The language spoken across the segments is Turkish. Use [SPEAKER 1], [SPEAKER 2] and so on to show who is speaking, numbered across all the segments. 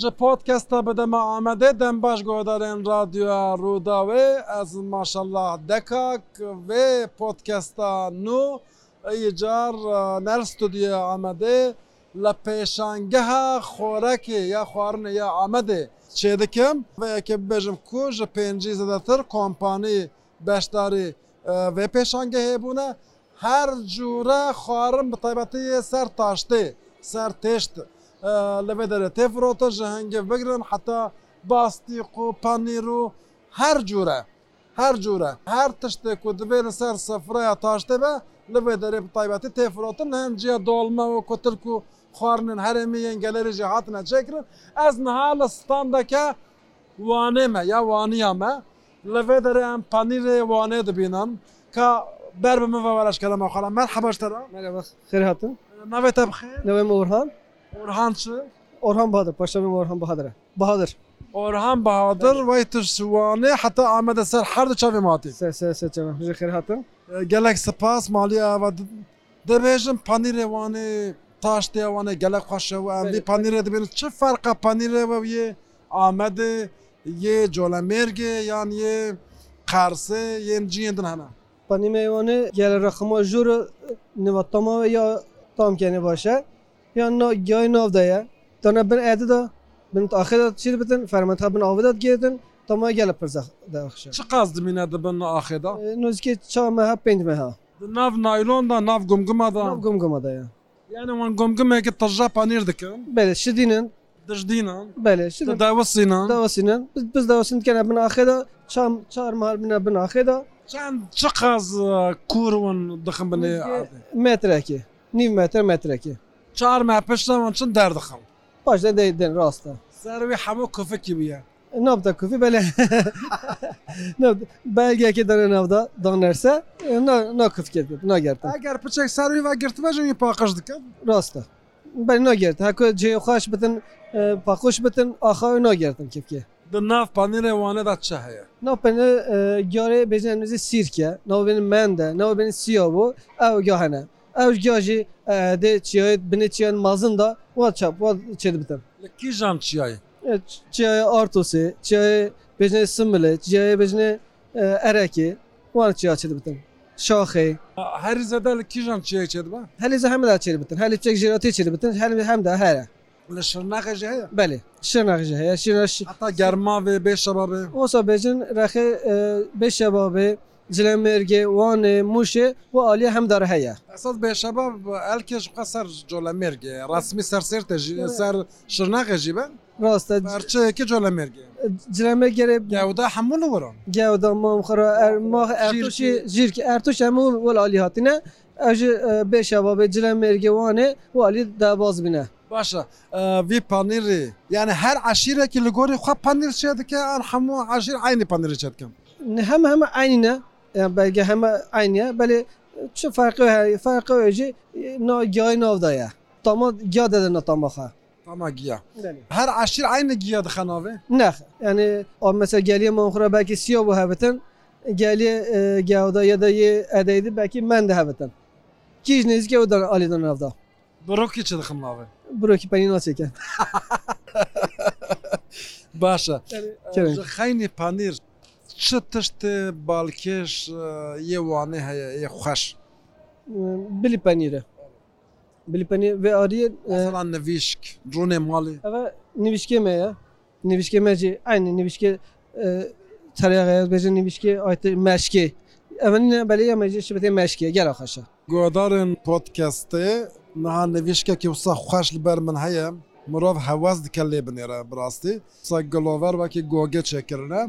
[SPEAKER 1] Ji podcasta bi dema Amedê dem baş guhdarên radyoya Rûdawê ez maşallah dekak vê podcasta nû yê car e, ner stûdyoya Amedê li pêşangeha xorekê ya xwarinê ya Amedê çê dikim ve yekê bibêjim ku ji pêncî zêdetir kompanî beşdarî e, vê pêşangehê bûne her cure xwarin bi taybetiyê ser taştê ser têşt li vê derê tê firotin ji hengê bigirin heta bastîq û panîr û her cure her cure her tiştê ku divê li ser sefraya taştê be li vê derê bi taybetî tê firotin hin ciya dolma û kutil ku xwarinên herêmê yên gelerê jî hatine çêkirin ez niha li standeke wanê me ya waniya me li vê derê em panîrê wanê dibînin ka ber bi min ve wereşkere me xwe merheba ji te re
[SPEAKER 2] Merhaba, خیر هاتون.
[SPEAKER 1] navê te bi xêr
[SPEAKER 2] نویم اورهان،
[SPEAKER 1] orhan çi
[SPEAKER 2] اورهان بهادر، پاشا بیم اورهان بهادره. بهادر.
[SPEAKER 1] Orhan Bahadır ve Tişvanê heta Ahmed Eser her du çavê matî.
[SPEAKER 2] سه سه سه چه میشه خیر هاتون.
[SPEAKER 1] Gelek spas maliye ve dibêjin panîrê wanê taş tê wanê gelek xweş e û em vî
[SPEAKER 2] Belê.
[SPEAKER 1] panîrê dibînin çi ferqa panîrê ve yê Amedê yê Colemêrgê yan yê Qersê yên ciyên din hene.
[SPEAKER 2] پنی میوانه گل رقما جور
[SPEAKER 1] e,
[SPEAKER 2] نواتما و یا تام کنه باشه. یا نا گای ناف دایه. تنه بن اعده دا بن آخر دا چیر بتن فرمت ها بن آودات گیردن تما گل پرزخ داخشه.
[SPEAKER 1] Çi qas dimîne dibin axê da?
[SPEAKER 2] نوزکی چا مه پنج مه ها.
[SPEAKER 1] Di nav naylon da nav gumguma da.
[SPEAKER 2] ناف گم گم دایه.
[SPEAKER 1] Yani wan gumgumekî tirja panîr dikin.
[SPEAKER 2] بله شدینن
[SPEAKER 1] Dijdînan,
[SPEAKER 2] بله شدینن.
[SPEAKER 1] dewısînan.
[SPEAKER 2] داوسینن بس بس داوسین کنه بن آخر دا چام چار مهال بن بن آخر دا
[SPEAKER 1] Çend çi qas kûr wan e, dixin binê erdê?
[SPEAKER 2] مترکی نیم متر مترکی
[SPEAKER 1] Çar me pişteman çin derdixim.
[SPEAKER 2] باش ده دیدن راسته
[SPEAKER 1] Ser wî hemû kufikî bûye.
[SPEAKER 2] نبدا کوفی بله نبدا بلگه که دانه نبدا دانرسه نه نه کف کرد نه گرد
[SPEAKER 1] Eger piçek ser wî vegirtime jî wî paqij dikin.
[SPEAKER 2] راسته بله نه گرد هکو جه خوش بتن پاخوش بتن آخا نه گردن کف که
[SPEAKER 1] Di nav panîrê wanê de çi heye?
[SPEAKER 2] نه پن گاره بزنمیزی سیرکه نه بین من ده نه بین سیا بو او گاهنه او گاجی ده چیای بنه چیان مازن دا وات چاپ وات چه بتن
[SPEAKER 1] Li kîjan çiyayê?
[SPEAKER 2] E, Çiyayı artosi, çiyayı bejne simbili, çiyayı bejne e, ereki. Var çiyayı çedi bitin. Şahi.
[SPEAKER 1] Herî zede li kîjan çiyayê çêdibe?
[SPEAKER 2] Heli ze hemen çedi bitin. Heli çek jirati çedi bitin. Heli hem de hele.
[SPEAKER 1] Li şirnexê jî heye?
[SPEAKER 2] Beli. Şirnak jihaya. Şirnak şi.
[SPEAKER 1] Heta germa vê bê şebabê.
[SPEAKER 2] Olsa bejin rakı beş şebabı. Zilemirgi, Vane, Muşi ve Ali hem de rahaya.
[SPEAKER 1] Esas bê şebab elkê ji xwe ser Colemêrgê ye. Resmî ser sêrtê jî ser e şirnexê jî be.
[SPEAKER 2] Rasta
[SPEAKER 1] Berçeyekî Colemêrgê ye.
[SPEAKER 2] cileme gere
[SPEAKER 1] Gewde hemû li wiran.
[SPEAKER 2] gevda mam xara er mah ertuşi jirki ertuş hemu vel Ali hatine. Ajı beş şebabı cilemirgi, Vane ve Ali dabaz bine.
[SPEAKER 1] Başa. Vî panîrê yani her aşîrekî li gorî xwe panîr çê dike an hemû aşîr aynî panîrê çêdikin.
[SPEAKER 2] هم هم عینه yani belge hem aynı böyle şu farkı her farkı öyle no gay no daya tamam ya da no tamaha
[SPEAKER 1] Tamam giya. Her aşir aynı giya dixen avê.
[SPEAKER 2] ne yani o mesela geliye monhura belki siyo bu habetin geliye e, gavda ya da ye edeydi belki ben de habetin kijniz gavdan alidan avda
[SPEAKER 1] Brokî çi dixin avê.
[SPEAKER 2] buradaki beni nasıl çeken
[SPEAKER 1] Başa. e,
[SPEAKER 2] Kerem.
[SPEAKER 1] Ji xeynî panîr çi tiştê balkêş e, yê wanê heye yê xweş.
[SPEAKER 2] bili penire bili penire ve arıya
[SPEAKER 1] Mesela nivîşk, cûnê malê.
[SPEAKER 2] Ama nivişkeme ya. Nivişkeme ci aynı nivişke e, tereyağı ya bence nivişke ayet meşki. Ama ne böyle yemeci şibete meşki gel akşa.
[SPEAKER 1] Guhdarên podcastê niha nivîşkekî wisa xweş li ber min heye. Mirov hewaz dike lê binêre bi rastî. Wisa gilover wekî gogê çêkirine.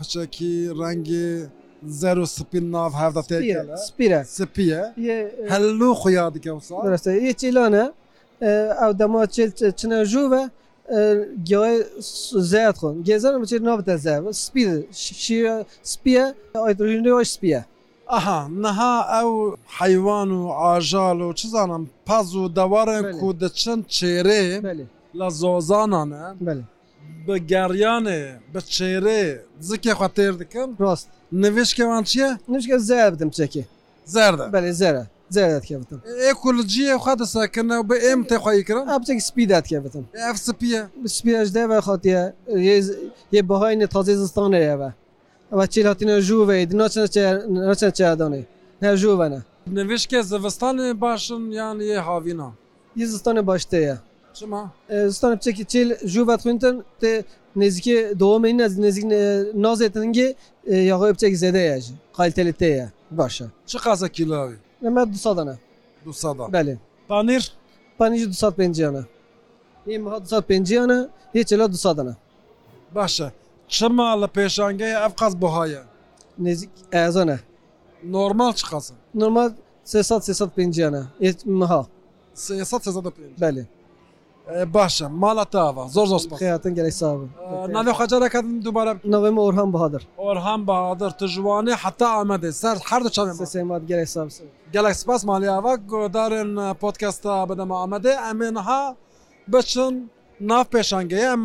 [SPEAKER 1] Piçekî rengê zer û spîn nav hevda
[SPEAKER 2] Spira.
[SPEAKER 1] têkele.
[SPEAKER 2] Spira.
[SPEAKER 1] Spî ye.
[SPEAKER 2] Ye e,
[SPEAKER 1] Hellû xuya dike wisa.
[SPEAKER 2] burası ye çilana ev dama çil çına ju ve gay zeyat kon. Gezer mi çil nabte zeyat. Spira. Şi spira ayet rüyünde o spira.
[SPEAKER 1] Aha, niha ew heywan û ajal û çi zanim paz û dewarên
[SPEAKER 2] Belê.
[SPEAKER 1] ku diçin çêrê
[SPEAKER 2] Böyle.
[SPEAKER 1] li zozanan e
[SPEAKER 2] Böyle.
[SPEAKER 1] bi geryanê bi çêrê zikê xwe têr dikin
[SPEAKER 2] Rast.
[SPEAKER 1] nivêşkê wan çi ye
[SPEAKER 2] Nişke zeyat bitim çeki.
[SPEAKER 1] zer de
[SPEAKER 2] Böyle zeyat. زیادت که بتن
[SPEAKER 1] اکولوژی خود ساکن و به ام تخوایی کرن
[SPEAKER 2] اب تک سپیدت که بتن
[SPEAKER 1] اف سپیه
[SPEAKER 2] سپیدش ده و خاطیه یه ز- یه بهای نتازه زستانه یه و و چیل هاتینه جوه اید ناچنه چه ناچنه چه دانه نه جوه نه
[SPEAKER 1] نویش که زوستان باشن یعنی یه هاوینا
[SPEAKER 2] یه زستان باشته یه
[SPEAKER 1] شما
[SPEAKER 2] زستان بچه چیل جوه خوینتن ته نزدیک دوم این از نزدیک نازتنگی یا غیب تک زده یه قایلتلیته یه باشه
[SPEAKER 1] چه قصه کیلوی
[SPEAKER 2] نمه دو سادانه
[SPEAKER 1] دو سادا
[SPEAKER 2] بله
[SPEAKER 1] پانیر
[SPEAKER 2] پنج 250 ana. یه مها 250 ana, یه چلا 200 ana.
[SPEAKER 1] باشه چما لپیشانگه اف قص بهایه
[SPEAKER 2] نزدیک از ana.
[SPEAKER 1] نورمال چه قصه
[SPEAKER 2] e, Normal 300 350 ana. یه مها.
[SPEAKER 1] 300 350
[SPEAKER 2] بله.
[SPEAKER 1] باشه مالا تاوا زور زور سپاس
[SPEAKER 2] خیاتن گلی صاحب.
[SPEAKER 1] نوی خجا رکدن دوباره
[SPEAKER 2] نویم اورهان بهادر.
[SPEAKER 1] اورهان بهادر تجوانی حتی آمده سر هر دو چمه
[SPEAKER 2] سه سه ماد گلی صاحب.
[SPEAKER 1] گلک سپاس مالی آوا گودارن پودکست بدم آمده امین ها بچن ناف پیشنگه ام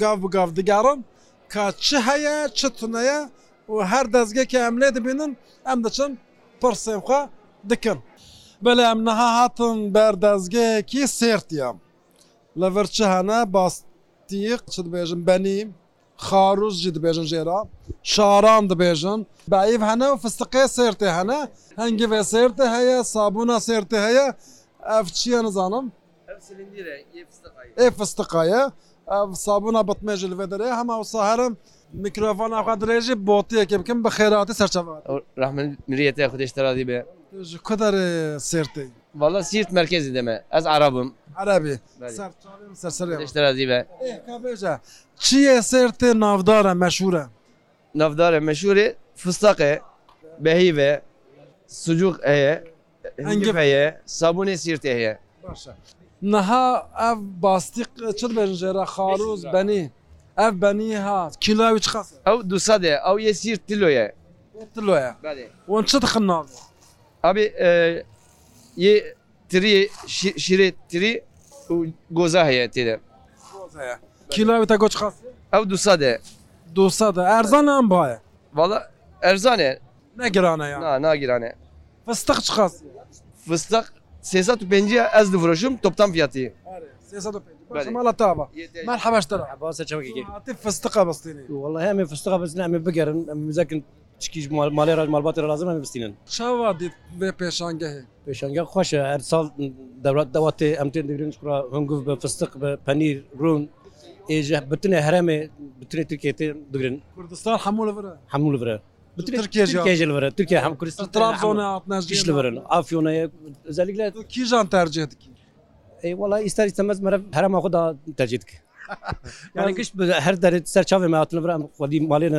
[SPEAKER 1] گاو بگاو دیگران که چه هیه چه تونه هیه و هر دزگه که ام لی دبینن ام دچن پرسیم خواه دکن بله ام نها هاتن بر دزگه کی سیرتیم لور چه هنه باستیق چه دبیجن بنیم خاروز جی دبیجن جیرا شاران دبیجن بعیف هنه و فستقه سیرتی هنه هنگی و سیرته هیا صابونا سیرته هیا اف چیه نزانم
[SPEAKER 3] Ev silindire, ev fıstıkayı.
[SPEAKER 1] اف استقایه اف صابونا بطمیج الودره همه و سهرم میکروفون اخوا دریجی بوتیه کم کم بخیراتی سرچوات
[SPEAKER 3] Rahmet Miriyete Kudeşler Adibe.
[SPEAKER 1] کدر سیرتی
[SPEAKER 3] Valla Siirt merkezi deme. Az Arabım.
[SPEAKER 1] عربی
[SPEAKER 3] بله.
[SPEAKER 1] سرچویم سرسریم
[SPEAKER 3] Kudeşler Adibe.
[SPEAKER 1] اه کابیجا چیه سیرتی نافداره مشهوره
[SPEAKER 3] Navdare meşhuri fıstıkı, behive, sucuk eye, hengif eye, sabune Siirt eye.
[SPEAKER 1] باشه نها اف باستیق چه بنجره خاروز بنی اف بنی ها کلاوی چه خاصه
[SPEAKER 3] Av dusade, av ye Siirt diloye.
[SPEAKER 1] تلویا
[SPEAKER 3] Bade.
[SPEAKER 1] وان چه تخناز
[SPEAKER 3] Abi e, ye tri, şi- şire tri, u- goza heye tide.
[SPEAKER 1] e. کلاوی تا گوچ خاصه
[SPEAKER 3] Av dusade.
[SPEAKER 1] 200 ده ارزان هم باه
[SPEAKER 3] Valla erzane,
[SPEAKER 1] نه گرانه یا
[SPEAKER 3] e. na, na girane.
[SPEAKER 1] فستق چخاص
[SPEAKER 3] Fıstık, sesat penci az vuruşum toptan fiyatı.
[SPEAKER 1] 350 مالا تابا مرحبا اشترى
[SPEAKER 4] عباس شوقي
[SPEAKER 1] عطيب فستقه بسطيني
[SPEAKER 4] والله هم فستقه بس نعم بقر مزكن تشكيش مال مالي راج مال باطل لازم هم بستينن
[SPEAKER 1] شاوا دي بي بيشانجه
[SPEAKER 4] بشان خوش هر سال دولت دواتي امتين دگرين شكرا هنگوف بفستق بپنير رون ايجه بتنه هرمه بتنه تركيا دگرين
[SPEAKER 1] كردستان حموله برا
[SPEAKER 4] حمول فرا بتنه
[SPEAKER 1] تركيا جا.
[SPEAKER 4] تركيا جل فرا تركيا هم كريستال
[SPEAKER 1] طرابزون عطنا
[SPEAKER 4] جيش لفرن افيونه ذلك
[SPEAKER 1] كي جان ترجيتك
[SPEAKER 4] اي والله يستر يتمز مرة هرم خدا ترجيتك يعني كش ب- هر در سر چاوه ما اتنا برام خودی مالین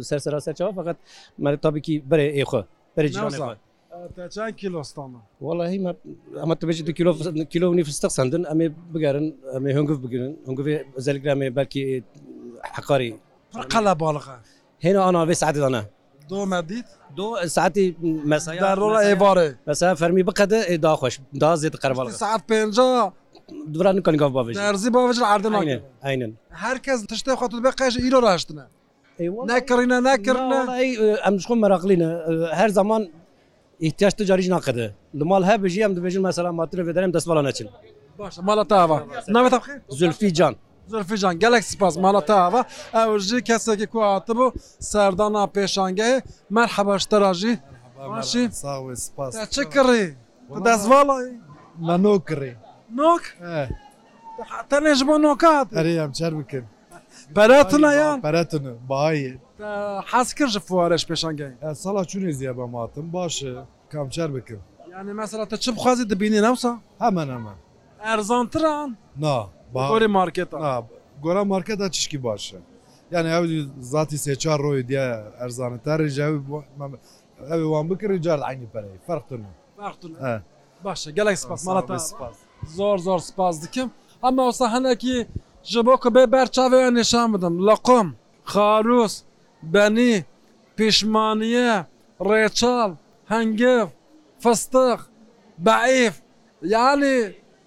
[SPEAKER 4] سر سر سر چاوه فقط من تابی کی بره ای خو بره جیران
[SPEAKER 1] نوزا.
[SPEAKER 4] خو
[SPEAKER 1] تاجان كيلوستان
[SPEAKER 4] والله ما اما تو بجد کیلو فس- کیلو نی فستق سندن امی بگرن امی هنگف بگیرن هنگف ذلك امی بلکی حقاری
[SPEAKER 1] قلا بالغه
[SPEAKER 4] هنا انا في ساعات انا
[SPEAKER 1] دو مديت
[SPEAKER 4] دو ساعتي مساء
[SPEAKER 1] ضروره ايباري
[SPEAKER 4] مساء فرمي بقدر دا خوش دا زيت قربال
[SPEAKER 1] ساعات بينجا
[SPEAKER 4] دوران كان قف بافيش
[SPEAKER 1] درزي باوج العردنا
[SPEAKER 4] عينن عينن
[SPEAKER 1] هركز تشتي خاطر بقاش ايرو راشتنا
[SPEAKER 4] اي والله
[SPEAKER 1] نكرنا
[SPEAKER 4] لا
[SPEAKER 1] نكرنا
[SPEAKER 4] والله اي ام شكون مراقلين هر زمان ihtiyaç ticarî naxede. Li mal hebijî em dibêjin mesela matrif ederim destvala neçin.
[SPEAKER 1] باشا مالا تابا نعم تبخير
[SPEAKER 4] Zülfî Can.
[SPEAKER 1] زلفیجان گلک سپاس مالا تاوا او جی کسی که کو آتبو سردانا پیشانگه مرحبا اشتراجی باشی
[SPEAKER 5] ساوي سباس
[SPEAKER 1] تا چه کری؟ تا دزوالا
[SPEAKER 5] ما نوكري
[SPEAKER 1] نوک؟
[SPEAKER 5] اه
[SPEAKER 1] تا حتی نجبا نوکات
[SPEAKER 5] هري ام شربكن
[SPEAKER 1] براتنا یان
[SPEAKER 5] براتنا باي
[SPEAKER 1] تا حس کر جفوارش پیشانگه
[SPEAKER 5] صلاة شنو زيابة ماتم باش كم شربكن
[SPEAKER 1] یعنی مثلا تا چه بخوازی دبینی نوسا؟
[SPEAKER 5] هما نما
[SPEAKER 1] ارزان تران
[SPEAKER 5] نا
[SPEAKER 1] کوری
[SPEAKER 5] با
[SPEAKER 1] مارکتا
[SPEAKER 5] نا گورا مارکت ها چشکی باشه یعنی او ذاتی سه چار روی دیا ارزانه تر رجا او وان بکر رجال عینی پره فرق تنو
[SPEAKER 1] وقتونه.
[SPEAKER 5] اه
[SPEAKER 1] باشه گلک سپاس مالا
[SPEAKER 5] ساوي
[SPEAKER 1] تاوا زور زور سپاس دکم اما اوسا هنکی جبو که به برچاوه یا نشان بدم لقم خاروس بنی پیشمانیه ریچال هنگف فستق بعیف یعنی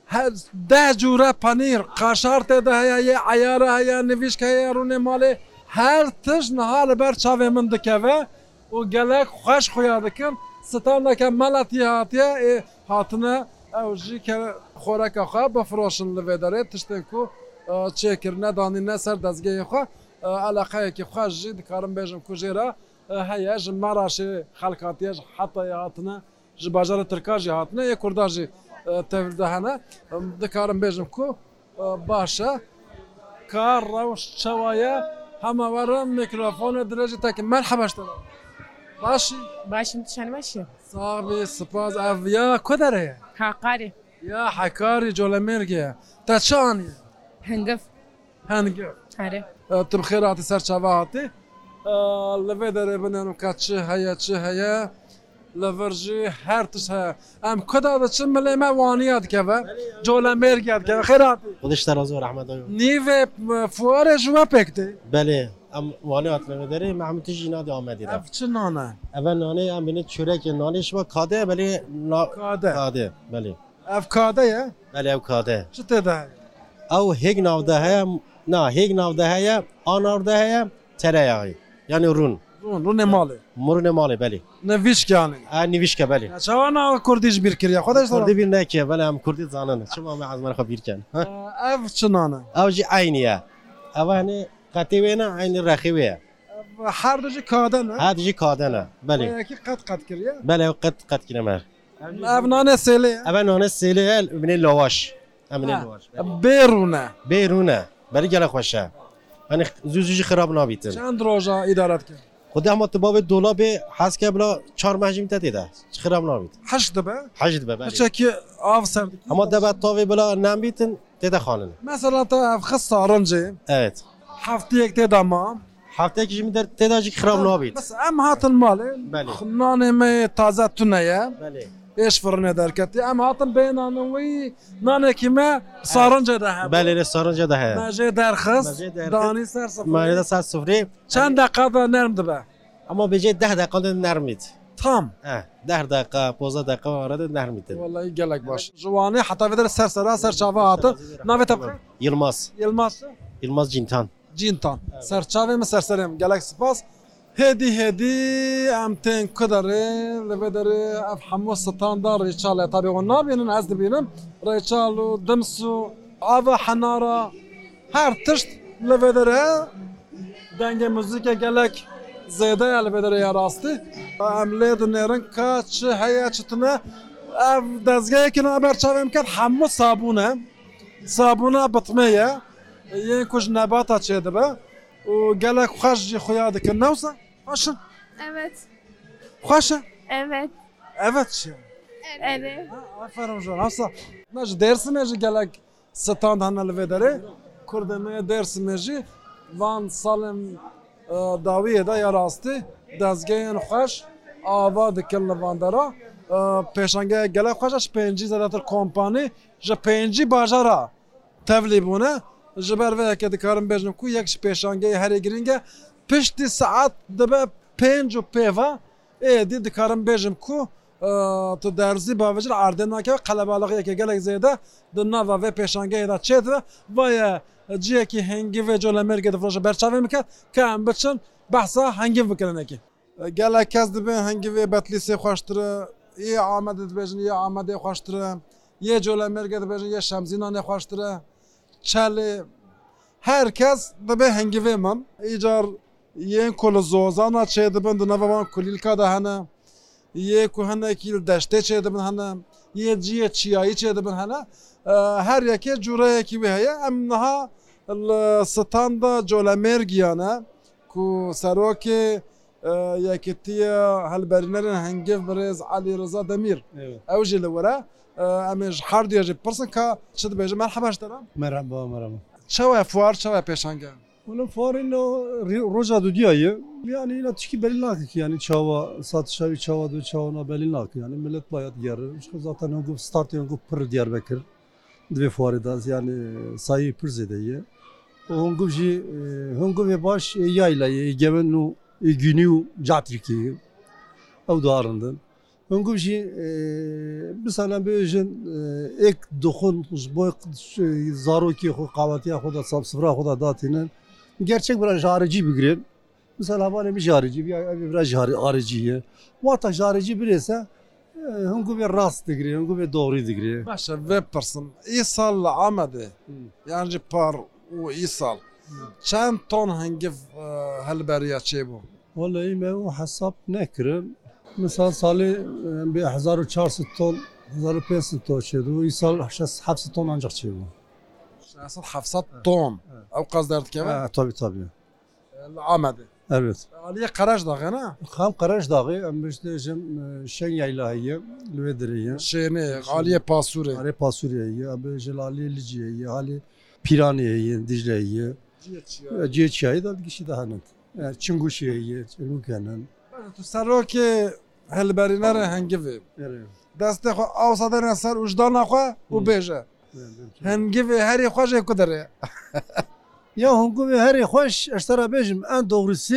[SPEAKER 1] هر- ده جوره پنیر قشار تده هیا یه عیاره هیا نویش که هیا رونه ماله هر تش نهال بر چاوه من دکه و و گلک خوش خویا دکن ستانه که ملتی هاتیه ای هاتنه او جی که خوراک خواه بفروشن لویداره تشتن کو اه، چه کرنه دانی نه سر دزگه خواه اه، علاقه که خواه جی دکارم بیجم کو جیره هیا جی مراشی خلقاتیه جی حتی هاتنه جی باجار ترکا جی هاتنه یه کرده جی اه، تولده هنه دکارم بیجم کو اه، باشه کار روش چوایا همه ورم میکروفون درجه تک مرحبا شتم باشی
[SPEAKER 6] باشم تشان باشه
[SPEAKER 1] صاحبي سباز افيا كدري
[SPEAKER 6] حقاري
[SPEAKER 1] يا حكاري جولميرجي تشاني
[SPEAKER 6] هنقف
[SPEAKER 1] هنجر
[SPEAKER 6] هاري
[SPEAKER 1] تبخيراتي سرچاواتي لفيدر بنانو كاتشي هيا تشي هيا لفرجي هرتش هيا ام كدا دا تشم لي ما وانيات كفا جولميرجي كفا خيراتي
[SPEAKER 4] خودش ترازو رحمت آیو
[SPEAKER 1] نيفي فوار جوا بيكتي
[SPEAKER 4] بله ام وانه اطلاع داره محمود تجی نادی آمدی رفت
[SPEAKER 1] افچنانا
[SPEAKER 4] اول نانه ام بینه چورک نانه شما کاده بله نا...
[SPEAKER 1] كادا
[SPEAKER 4] کاده بله
[SPEAKER 1] افكادا يا
[SPEAKER 4] بله او کاده
[SPEAKER 1] شتي دا
[SPEAKER 4] او هگ نوده هم نه هگ نوده هم آنارده هم تره یعنی رون
[SPEAKER 1] رون رون مالي
[SPEAKER 4] مرون ماله بله
[SPEAKER 1] نفيش كاني
[SPEAKER 4] اه نویشکه بله
[SPEAKER 1] چوانا كرديش بيركريا خداش
[SPEAKER 4] کردی بیر نکه ولی هم کردی زانن شما هم از من خبیر کن ها؟
[SPEAKER 1] اف چنانه
[SPEAKER 4] او جی عینیه او هنه قطیوه نه عین رخیوه
[SPEAKER 1] هر دو جی کاده نه
[SPEAKER 4] ها دیجی کاده نه بله
[SPEAKER 1] یکی قد قد کریه
[SPEAKER 4] بله قد قد کنم
[SPEAKER 1] اف نانه سیلی
[SPEAKER 4] اما نان سیله من لواش امن لواش
[SPEAKER 1] بیرونه
[SPEAKER 4] بیرونه بلی گله خوشه یعنی زوزوجی خراب نابیتن
[SPEAKER 1] چند روژا ادارت کرد
[SPEAKER 4] خود هم تو باب دولا به حس که بلا چهار مهجم تا دیده خراب نابیت
[SPEAKER 1] هشت دبه
[SPEAKER 4] حجد به بله
[SPEAKER 1] چکی آف سر
[SPEAKER 4] اما دبت تاوی بلا نمیتن دیده خانن
[SPEAKER 1] مثلا تا اف خص سارنجی
[SPEAKER 4] evet
[SPEAKER 1] هفته یک دیده ما
[SPEAKER 4] هفته که جمی در دیده جی خراب نابیت
[SPEAKER 1] بس ام هاتن مالی
[SPEAKER 4] بله.
[SPEAKER 1] خنانه می تازه تونه یه
[SPEAKER 4] بله
[SPEAKER 1] ایش فرنه درکتی ام هاتن بینانوی نانه کمه سارنج ده هم
[SPEAKER 4] بله رستوران ده هست
[SPEAKER 1] مجه درخست
[SPEAKER 4] مجه درخست.
[SPEAKER 1] دانی سر
[SPEAKER 4] معنی ده
[SPEAKER 1] سفر
[SPEAKER 4] ساعت سفری
[SPEAKER 1] چند دقیقه ده نرم دبه
[SPEAKER 4] اما به جای ده دقیقه نرمید
[SPEAKER 1] تام
[SPEAKER 4] اه، ده دقیقه 15 دقیقه arada نرمیدن
[SPEAKER 1] Vallahi gelek baş. Juvani hatta vedere sersera serçave atı. Nave tapkı.
[SPEAKER 4] Yılmaz
[SPEAKER 1] Yılmaz.
[SPEAKER 4] Yılmaz Cintan
[SPEAKER 1] Cintan. Serçave mi serserem gelek spas. Hedi hedi emten kudari levederi ev hamu standar reçale tabi o nabinin ez dibinin reçalu dimsu ava hanara her tişt levedere denge müzike gelek zede levedere yarastı em ledin kaç heye çıtına ev dezgeyekine haber çavim kat hamu sabune sabuna bitmeye yên ku ji nebata çêdibe û gelek xweş jî xuya dikin newsa xweş in,
[SPEAKER 6] Evet.
[SPEAKER 1] xweş in.
[SPEAKER 6] Evet.
[SPEAKER 1] evet çi
[SPEAKER 6] Evet.
[SPEAKER 1] aferin ji newsa me ji dêrsimê jî gelek stand hene li vê derê kurdê me dêrsimê jî van salên e, dawiyê de ya rastî dezgehên xweş ava dikin li van dera E, pêşangeya gelek xweş e ji pêncî zêdetir kompanî ji pêncî bajara tevlî bûne ji ber vê yekê dikarim bêjim ku yek ji pêşangeyê herê giring e piştî saet dibe pênc û pêva êdî dikarim bêjim ku e, tu derzî bavêjir erdê nake ve qelebalixê yekê gelek zêde di nava vê pêşangehê de çêdive vaye ciyekî hengî vê colemergê difroşe berçavê mike ke em biçin behsa hengiv bikirin ekî E, gelek kes dibin hengî vê betlîsê xweştir yê Amedê dibêjin yê Amedê xweştir yê colemergê dibêjin yê şemzînanê xweştir çelê herkes dibe hengivê min îcar yên ku li zozana çêdibin di nava van kulîlka de hene yê ku hinekî li deştê çêdibin hene yê ciyê çiyayî çêdibin hene E, her yekê cureyekî wê heye em niha li standa colemêrgiyan e ku serokê e, yekîtiya helberînerên hengiv birêz Elî Rıza Demîr
[SPEAKER 7] Evet.
[SPEAKER 1] ew jî li were E, em ê ji her duya jî pirsin ka çi dibêjin merheba ji te re
[SPEAKER 7] Merhaba merhaba.
[SPEAKER 1] Çava fuar çava peşange.
[SPEAKER 2] Bunun farıyla roja du diyayı. Yani yine tiki belli nakik yani çava satışa bir çava du çavana belli nakik yani millet bayat yarı. İşte zaten hangi start hangi pır Diyarbakır. Dve fuarı da yani sayı pır zedeyi. Hangi ji e, hangi ve baş yayla e gemen nu günü catriki. Ev dağarından. Hangi ji e, bir sana bir öjen ek dokun e, uzboy zaroki kahvetiye kuda sapsıfra kuda datinin gerçek bir harici bir girin. مثلا هوانه می جارجی بیا اوی برا جار آرجیه واتا جارجی برسه e, هنگو به راست دگری هنگو به دوری دگری
[SPEAKER 1] ماشا وی پرسم ای سال آمده یعنی جی پار و ای سال چند تون هنگف هل بریا چی بو
[SPEAKER 2] والله من او حساب نکرم مثلا سالی به 1400 تن 1500 تن شد و این سال 700 تن انجام شد
[SPEAKER 1] اصلا 700 تون او قصد درد که
[SPEAKER 2] طبی طبی
[SPEAKER 1] آمده
[SPEAKER 2] البته
[SPEAKER 1] علی قرش داغه نه
[SPEAKER 2] خام قرش داغی ام بهش دیم شن یایلاهیه لودریه
[SPEAKER 1] شینه علی پاسوره
[SPEAKER 2] آره پاسوریه ام جلالی لجیه حالی پیرانیه دیجلیه جیه چایی داد گیشی دهنند yani çinguşiye çingukenin
[SPEAKER 1] تو سروک هلبری نره هنگوی دست خو او صدر سر وجدان خو و بیجه هنگوی هری خوش کدره
[SPEAKER 2] ya hongu ve her hoş eştara bejim en doğrusu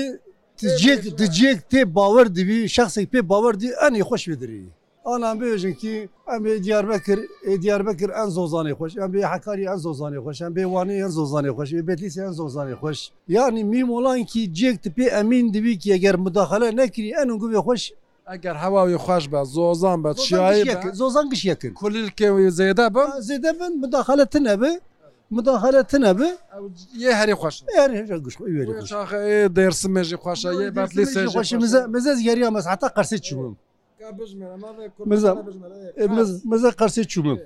[SPEAKER 2] diyecek diyecek te bavar dibi şahsi pe bavar di en iyi hoş vediri Anam bejim ki em bir Diyarbakır e, Diyarbakır en zozanı hoş em bir Hakkari en zozanı hoş em bir Vanı en zozanı hoş em Betlis en zozanı hoş yani mim olan ki diyecek te pe emin dibi ki eğer müdahale ne kiri en hongu ve hoş
[SPEAKER 1] اگر هوای خوش به زوزان به
[SPEAKER 2] zozan
[SPEAKER 1] چیایی
[SPEAKER 2] kişi
[SPEAKER 1] به
[SPEAKER 2] yakın zozan kişi yakın
[SPEAKER 1] کلیل که و زیده به
[SPEAKER 2] Zede ben müdahaleti ne be? Müdahaleti ne be?
[SPEAKER 1] یه هری خوش
[SPEAKER 2] Eğer her şey güçlü üyeli güçlü.
[SPEAKER 1] چاخه درس میجی خوشه یه بطلی سیجی خوشه
[SPEAKER 2] Başımıza mezez geri yemez. Hatta karşı çumum. Mirza,
[SPEAKER 1] E,
[SPEAKER 2] Mez, meze karşı çumum.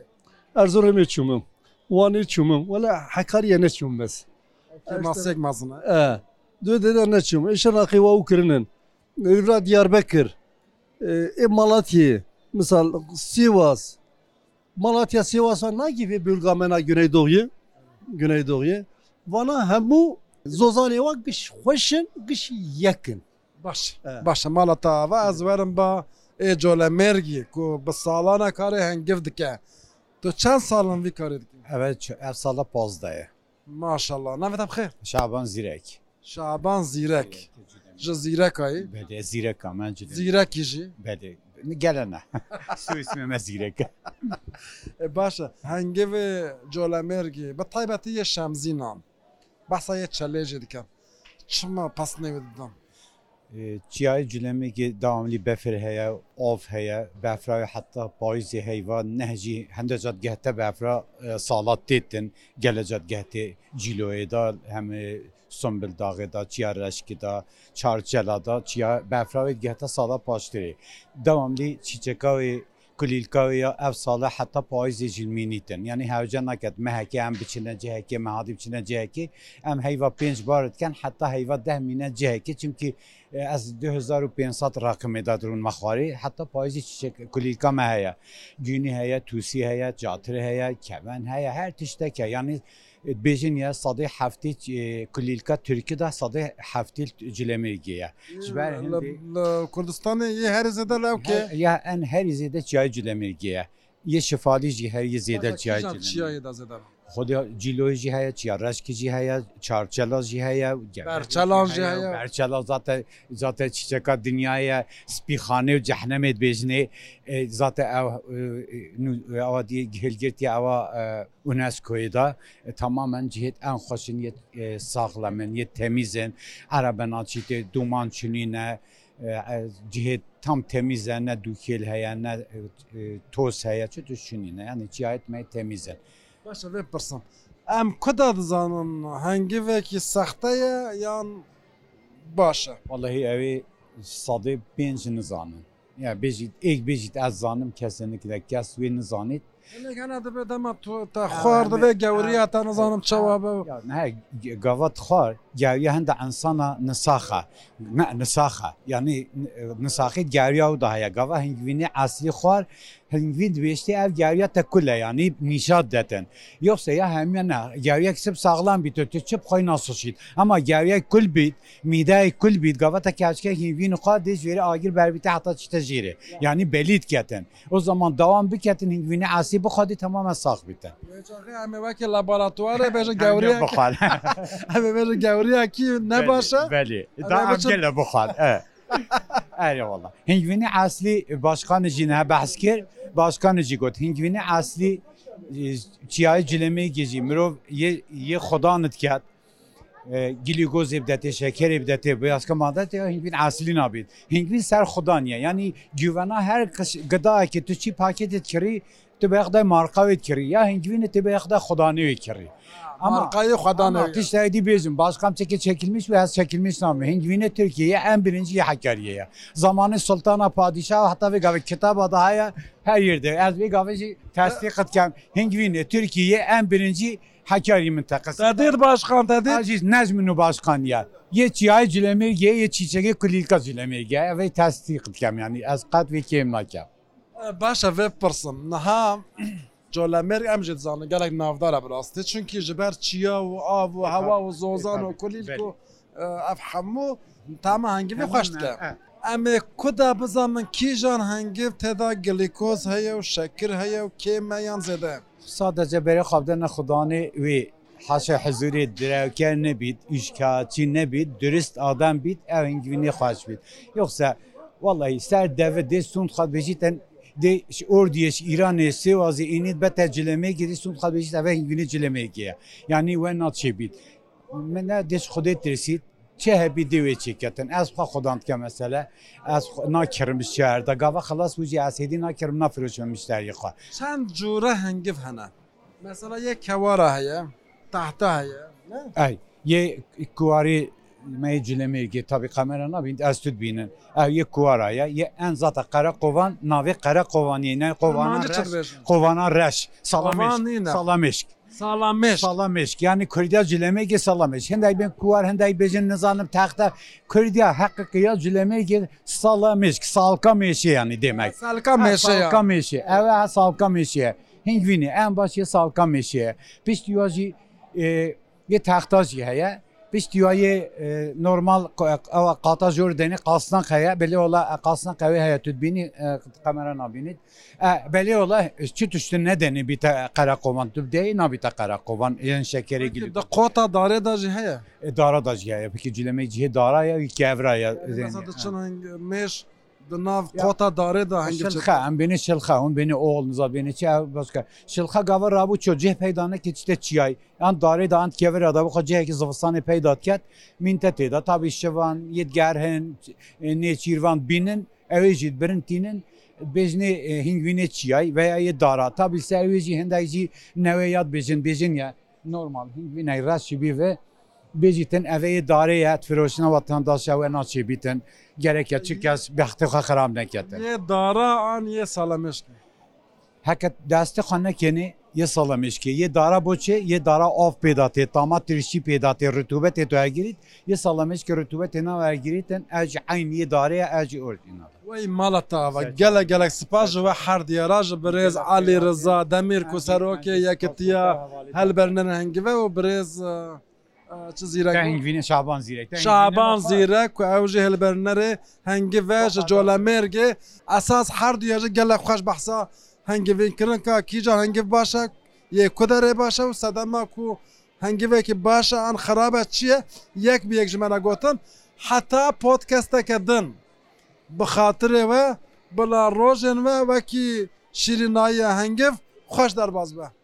[SPEAKER 2] Erzurum'a çumum. Van'a çumum. Valla Hakkari'ye ne çumum bez.
[SPEAKER 1] ماسک مزنه
[SPEAKER 2] Ee, Dö dede ne çumum. Eşen Akıva Ukrayna'nın. İvra Diyarbakır. E, Malatya. Misal Sivas. Malatya, Sivas'a ne gibi bölgemena Güneydoğu'yu? Güneydoğu'yu. Van'a hem bu Zozan'ı var. Kış hoşun, kış yakın.
[SPEAKER 1] باش
[SPEAKER 2] اه.
[SPEAKER 1] باش مالا تا و از ورم با ای جوله مرگی کو به سالانه کاری هنگف دکه تو چند سالن وی کاری دکی
[SPEAKER 8] Evet, Efsala Pozda'yı.
[SPEAKER 1] ماشاءالله نمیدم خیر
[SPEAKER 8] Şaban Zirek.
[SPEAKER 1] Şaban Zirek. Ji Zirek ayı.
[SPEAKER 8] Bede Zirek ama cidden.
[SPEAKER 1] Zirek işi.
[SPEAKER 8] Bede. Gelene. Su ismime Zirek.
[SPEAKER 1] E başa. Hangi ve Colamergi. Be taybeti ye Şemzinan. Basa ye çeleci diken. Çıma pas ne dedim.
[SPEAKER 8] Çiyayı cülemi ki devamlı befir heye, of heye, befra ve hatta payızı heyva nehci hendecat gehte befra e, salat tettin. Gelecat gehte ciloye da hem e, Sumbil dağı da, çiya reşki da, çar cela da, çiya befra ve gehte salat paştiri. Devamlı çiçeka ve kulilka ve ya ev sala hatta payızı cilminitin. Yani hevce naket meheke hem biçine ceheke, mehadi biçine ceheke. Hem heyva penç baritken hatta heyva dehmine ceheke. Çünkü از 2500 رقم دادرون مخواری حتی پایزی چیچک کلیکا هیا گینی هیا توسی هیا جاتر هیا کون هیا هر تشتک هیا یعنی بیجین یا صدی هفتی کلیلکا ترکی ده صدی هفتی جلمیگیه Jiber hindi.
[SPEAKER 1] Kurdistan'ı ye her zede lev ki.
[SPEAKER 8] یا ان هر زیده چای جلمیگیه یه شفالی جی هر یه زیده چای جلمیگیه
[SPEAKER 1] Çiyayı da zede.
[SPEAKER 8] خود جیلوی جی هیا چیا رشکی جی هیا چارچلاز جی هیا
[SPEAKER 1] Berçelan jî heye.
[SPEAKER 8] برچلاز ذات ذات چیچکا دنیای سپیخانه و جهنم بجنه ذات او نو- او دی گلگرتی او اونسکوی دا تماما جهت ان خوشن یه اه، ساغلمن یه تمیزن عربنا چیت دومان چنینه اه، جهت tam temizler ne dükkel heye ne e, e, toz heye çu düşününe yani cihayet me temizler.
[SPEAKER 1] Başa vê pirsim. Em ku da dizanin hengivekî sexte ye yan baş e?
[SPEAKER 8] Vallahi evi sadı benci nizanın. Ya bejit, ilk bejit az zanım kesinlikle kes ve nizanit.
[SPEAKER 1] Hinek hene dibe dema tu te xwar dibe gewriya te nizanim çawa be.
[SPEAKER 8] Ya ne gavat xar ya ya hende insana nisaha. Ne nisaha. Yani nisahit geriya da ya gava hingvini asli xar hingvin dveşti ev geriya te kulle yani nişat deten. Yoksa ya hemen ne geriya kisip sağlam bir tötü çıp koy nasıl şit. Ama geriya kul bit mideye kul bit gava te kaçke hingvini xar dej veri agir berbite hatta çitejiri. Yani belit keten. O zaman devam biketin hingvini asli bu xadi tamamen sağ biten.
[SPEAKER 1] Çaxi em ê wekî laboratuvarê bêje
[SPEAKER 8] Geriya
[SPEAKER 1] gewriya
[SPEAKER 8] bu xar.
[SPEAKER 1] em ê bêje gewriya kî ne baş e?
[SPEAKER 8] Bəli.
[SPEAKER 1] Əvvəl
[SPEAKER 8] Daha
[SPEAKER 1] bütün-
[SPEAKER 8] gələ bu xal. Ə. Eyvallah. Hingvini asli başqan jinə bəhs kir, başqan jigot. Hingvini asli e, çiyayı ciləməyə gecə mirov ye ye xodanıt kat. گلیکوز بدته شکر بدته بیاس کمادت یا هنگوین اصلی نابید هنگوین سر خدانیه یعنی گیوانا هر قش- گدا که تو چی پاکتت کری تو به خدا مارکاویت کری یا هنگوین تو به خدا خدانیوی کری اما
[SPEAKER 1] Markayı
[SPEAKER 8] Ama
[SPEAKER 1] Xwedane.
[SPEAKER 8] Kışlaydı bizim. Başkan çeke çekilmiş ve az çekilmiş namı. Hengvine Türkiye'ye en birinci Hakkari'ye. Zamanı sultana padişah hatta ve gavi kitaba daha ya her yerde. Ez ve gavi tasdik etken Hengvine Türkiye'ye en birinci Hakkari mıntakası.
[SPEAKER 1] Tedir başkan tedir.
[SPEAKER 8] Aziz Nezminu Başkan ya. Ye çiğay cilemirge, ye çiçeğe kulika cilemirge ve tasdik etken yani. Ez kat ve kemnakem.
[SPEAKER 1] باشە vê pirsim niha Colemêr em ji dizane gelek navdara birastê çünkü ji ber çiya û av û hewa û zozan û
[SPEAKER 8] E, Tabii,
[SPEAKER 1] kulîl
[SPEAKER 8] belli.
[SPEAKER 1] ku ev hemû tama hengiv xweş dike.
[SPEAKER 8] Evet.
[SPEAKER 1] Em ê ku de bizamin kîjan hengiv têda glikoz heye û şekir heye û kêmeyan zêde.
[SPEAKER 8] sadece beri kabdana Kudanı ve haşa huzuri direvker ne bit, işkaçi ne bit, dürüst adam bit, evin gibi ne hoş bit. Yoksa vallahi ser deve de sun kadbeciten de ş- ordiyeş İran'ı Sivaz'ı init bete cileme gidi sun kadbecit evin gibi cileme giye. Yani ve not şey bit. Mene deş kudet dersit çehe bir deve çeketin. Ez pa kudantke mesela. Ez nakirmiş şehirde. Gava halas buji asedi nakirim nafiruşunmuşlar yıka.
[SPEAKER 1] Çend cure hengiv hene. Mesela yek kewara heye, tahta heye.
[SPEAKER 8] Ay, ye kuari meycilemi ki tabi kamera nabint az tut binin. Ay ye kuara ya ye en zata Karakovan navi Karakovan yine Kovana
[SPEAKER 1] Mancı
[SPEAKER 8] reş.
[SPEAKER 1] çıkmış.
[SPEAKER 8] Kovana reş.
[SPEAKER 1] Kovan yine.
[SPEAKER 8] Salameşk. Salameşk.
[SPEAKER 1] Salameş.
[SPEAKER 8] Salameşk. Yani kurdiya cileme ki salameşk. Henday ben kuar henday bezin nizanım tahta kurdiya hakkiya cileme ki salameşk. Salka meşi yani demek.
[SPEAKER 1] Selka meşe ya.
[SPEAKER 8] Salka meşe. Evet salka meşe. Hingvini en başı salka meşe. Biz diyor ki e, ye tahtaj heye. Biz diyor ye e, normal ava qata jordani qaslan heye. Beli ola qaslan heye heye tüdbini e, kamera nabini. E, beli ola çüt üstü nedeni bir ta karakovan tübdeyi nabi ta karakovan. Yani şekeri gibi.
[SPEAKER 1] De kota darê da jî heye.
[SPEAKER 8] E, dara da cihe. Peki cileme cihe dara ya kevra ya.
[SPEAKER 1] Mesela
[SPEAKER 8] zeni.
[SPEAKER 1] de çin hengiv meş. De nav
[SPEAKER 8] Ya.
[SPEAKER 1] kota darê da hengiv çıkmış.
[SPEAKER 8] Şılxa, em beni şılxa, on beni oğlunuza, beni çiğ başka. Şılxa gava rabu çocuğu peydana keçite çiyay. An dare da ant kever adabı koca ki zıvıstanı peydat ket. Minte teda tabi şevan, yedgerhen, ne çirvan binin, evecid birin tinin. Bezni e, hingvine çiyay veya ye dara. Tabi se eveci hendayci neve yad bezin, bezin ya. Normal hingvine raşibi ve Beziten eveyi dare ya tfiroşuna vatandaşa ve nasibiten gerek ya çıkas behtika haram nekete.
[SPEAKER 1] Ye dara an ye salameş.
[SPEAKER 8] Hakikat deste xanne keni ye salamış ki ye dara boçe ye dara av pedate tamat tirşi pedate rutubet eto ergirit ye salamış ki rutubet ena ergiriten ec ayn ye dare ya ec ordina.
[SPEAKER 1] Vay malata va
[SPEAKER 8] Güzel.
[SPEAKER 1] gele gelek spaj ve her diyaraj brez Ali Rıza Demir Kusaroke yaketiya helbernen hengi ve o brez e, çi zirek.
[SPEAKER 8] Hengvine Şaban Zirek.
[SPEAKER 1] Şaban zirek ve evji helbernere hengi ve ji colamerge esas her diyaraj gelek xoş bahsa hengi vin kirin ka kija hengi başa ye kudere başa u sadama ku hengi ve ki başa an xarabe çiye yek bir yek jimena gotin hatta podcasteke din. بخاطر و بلا روزن و وکی شیرینایی هنگف خوش در باز به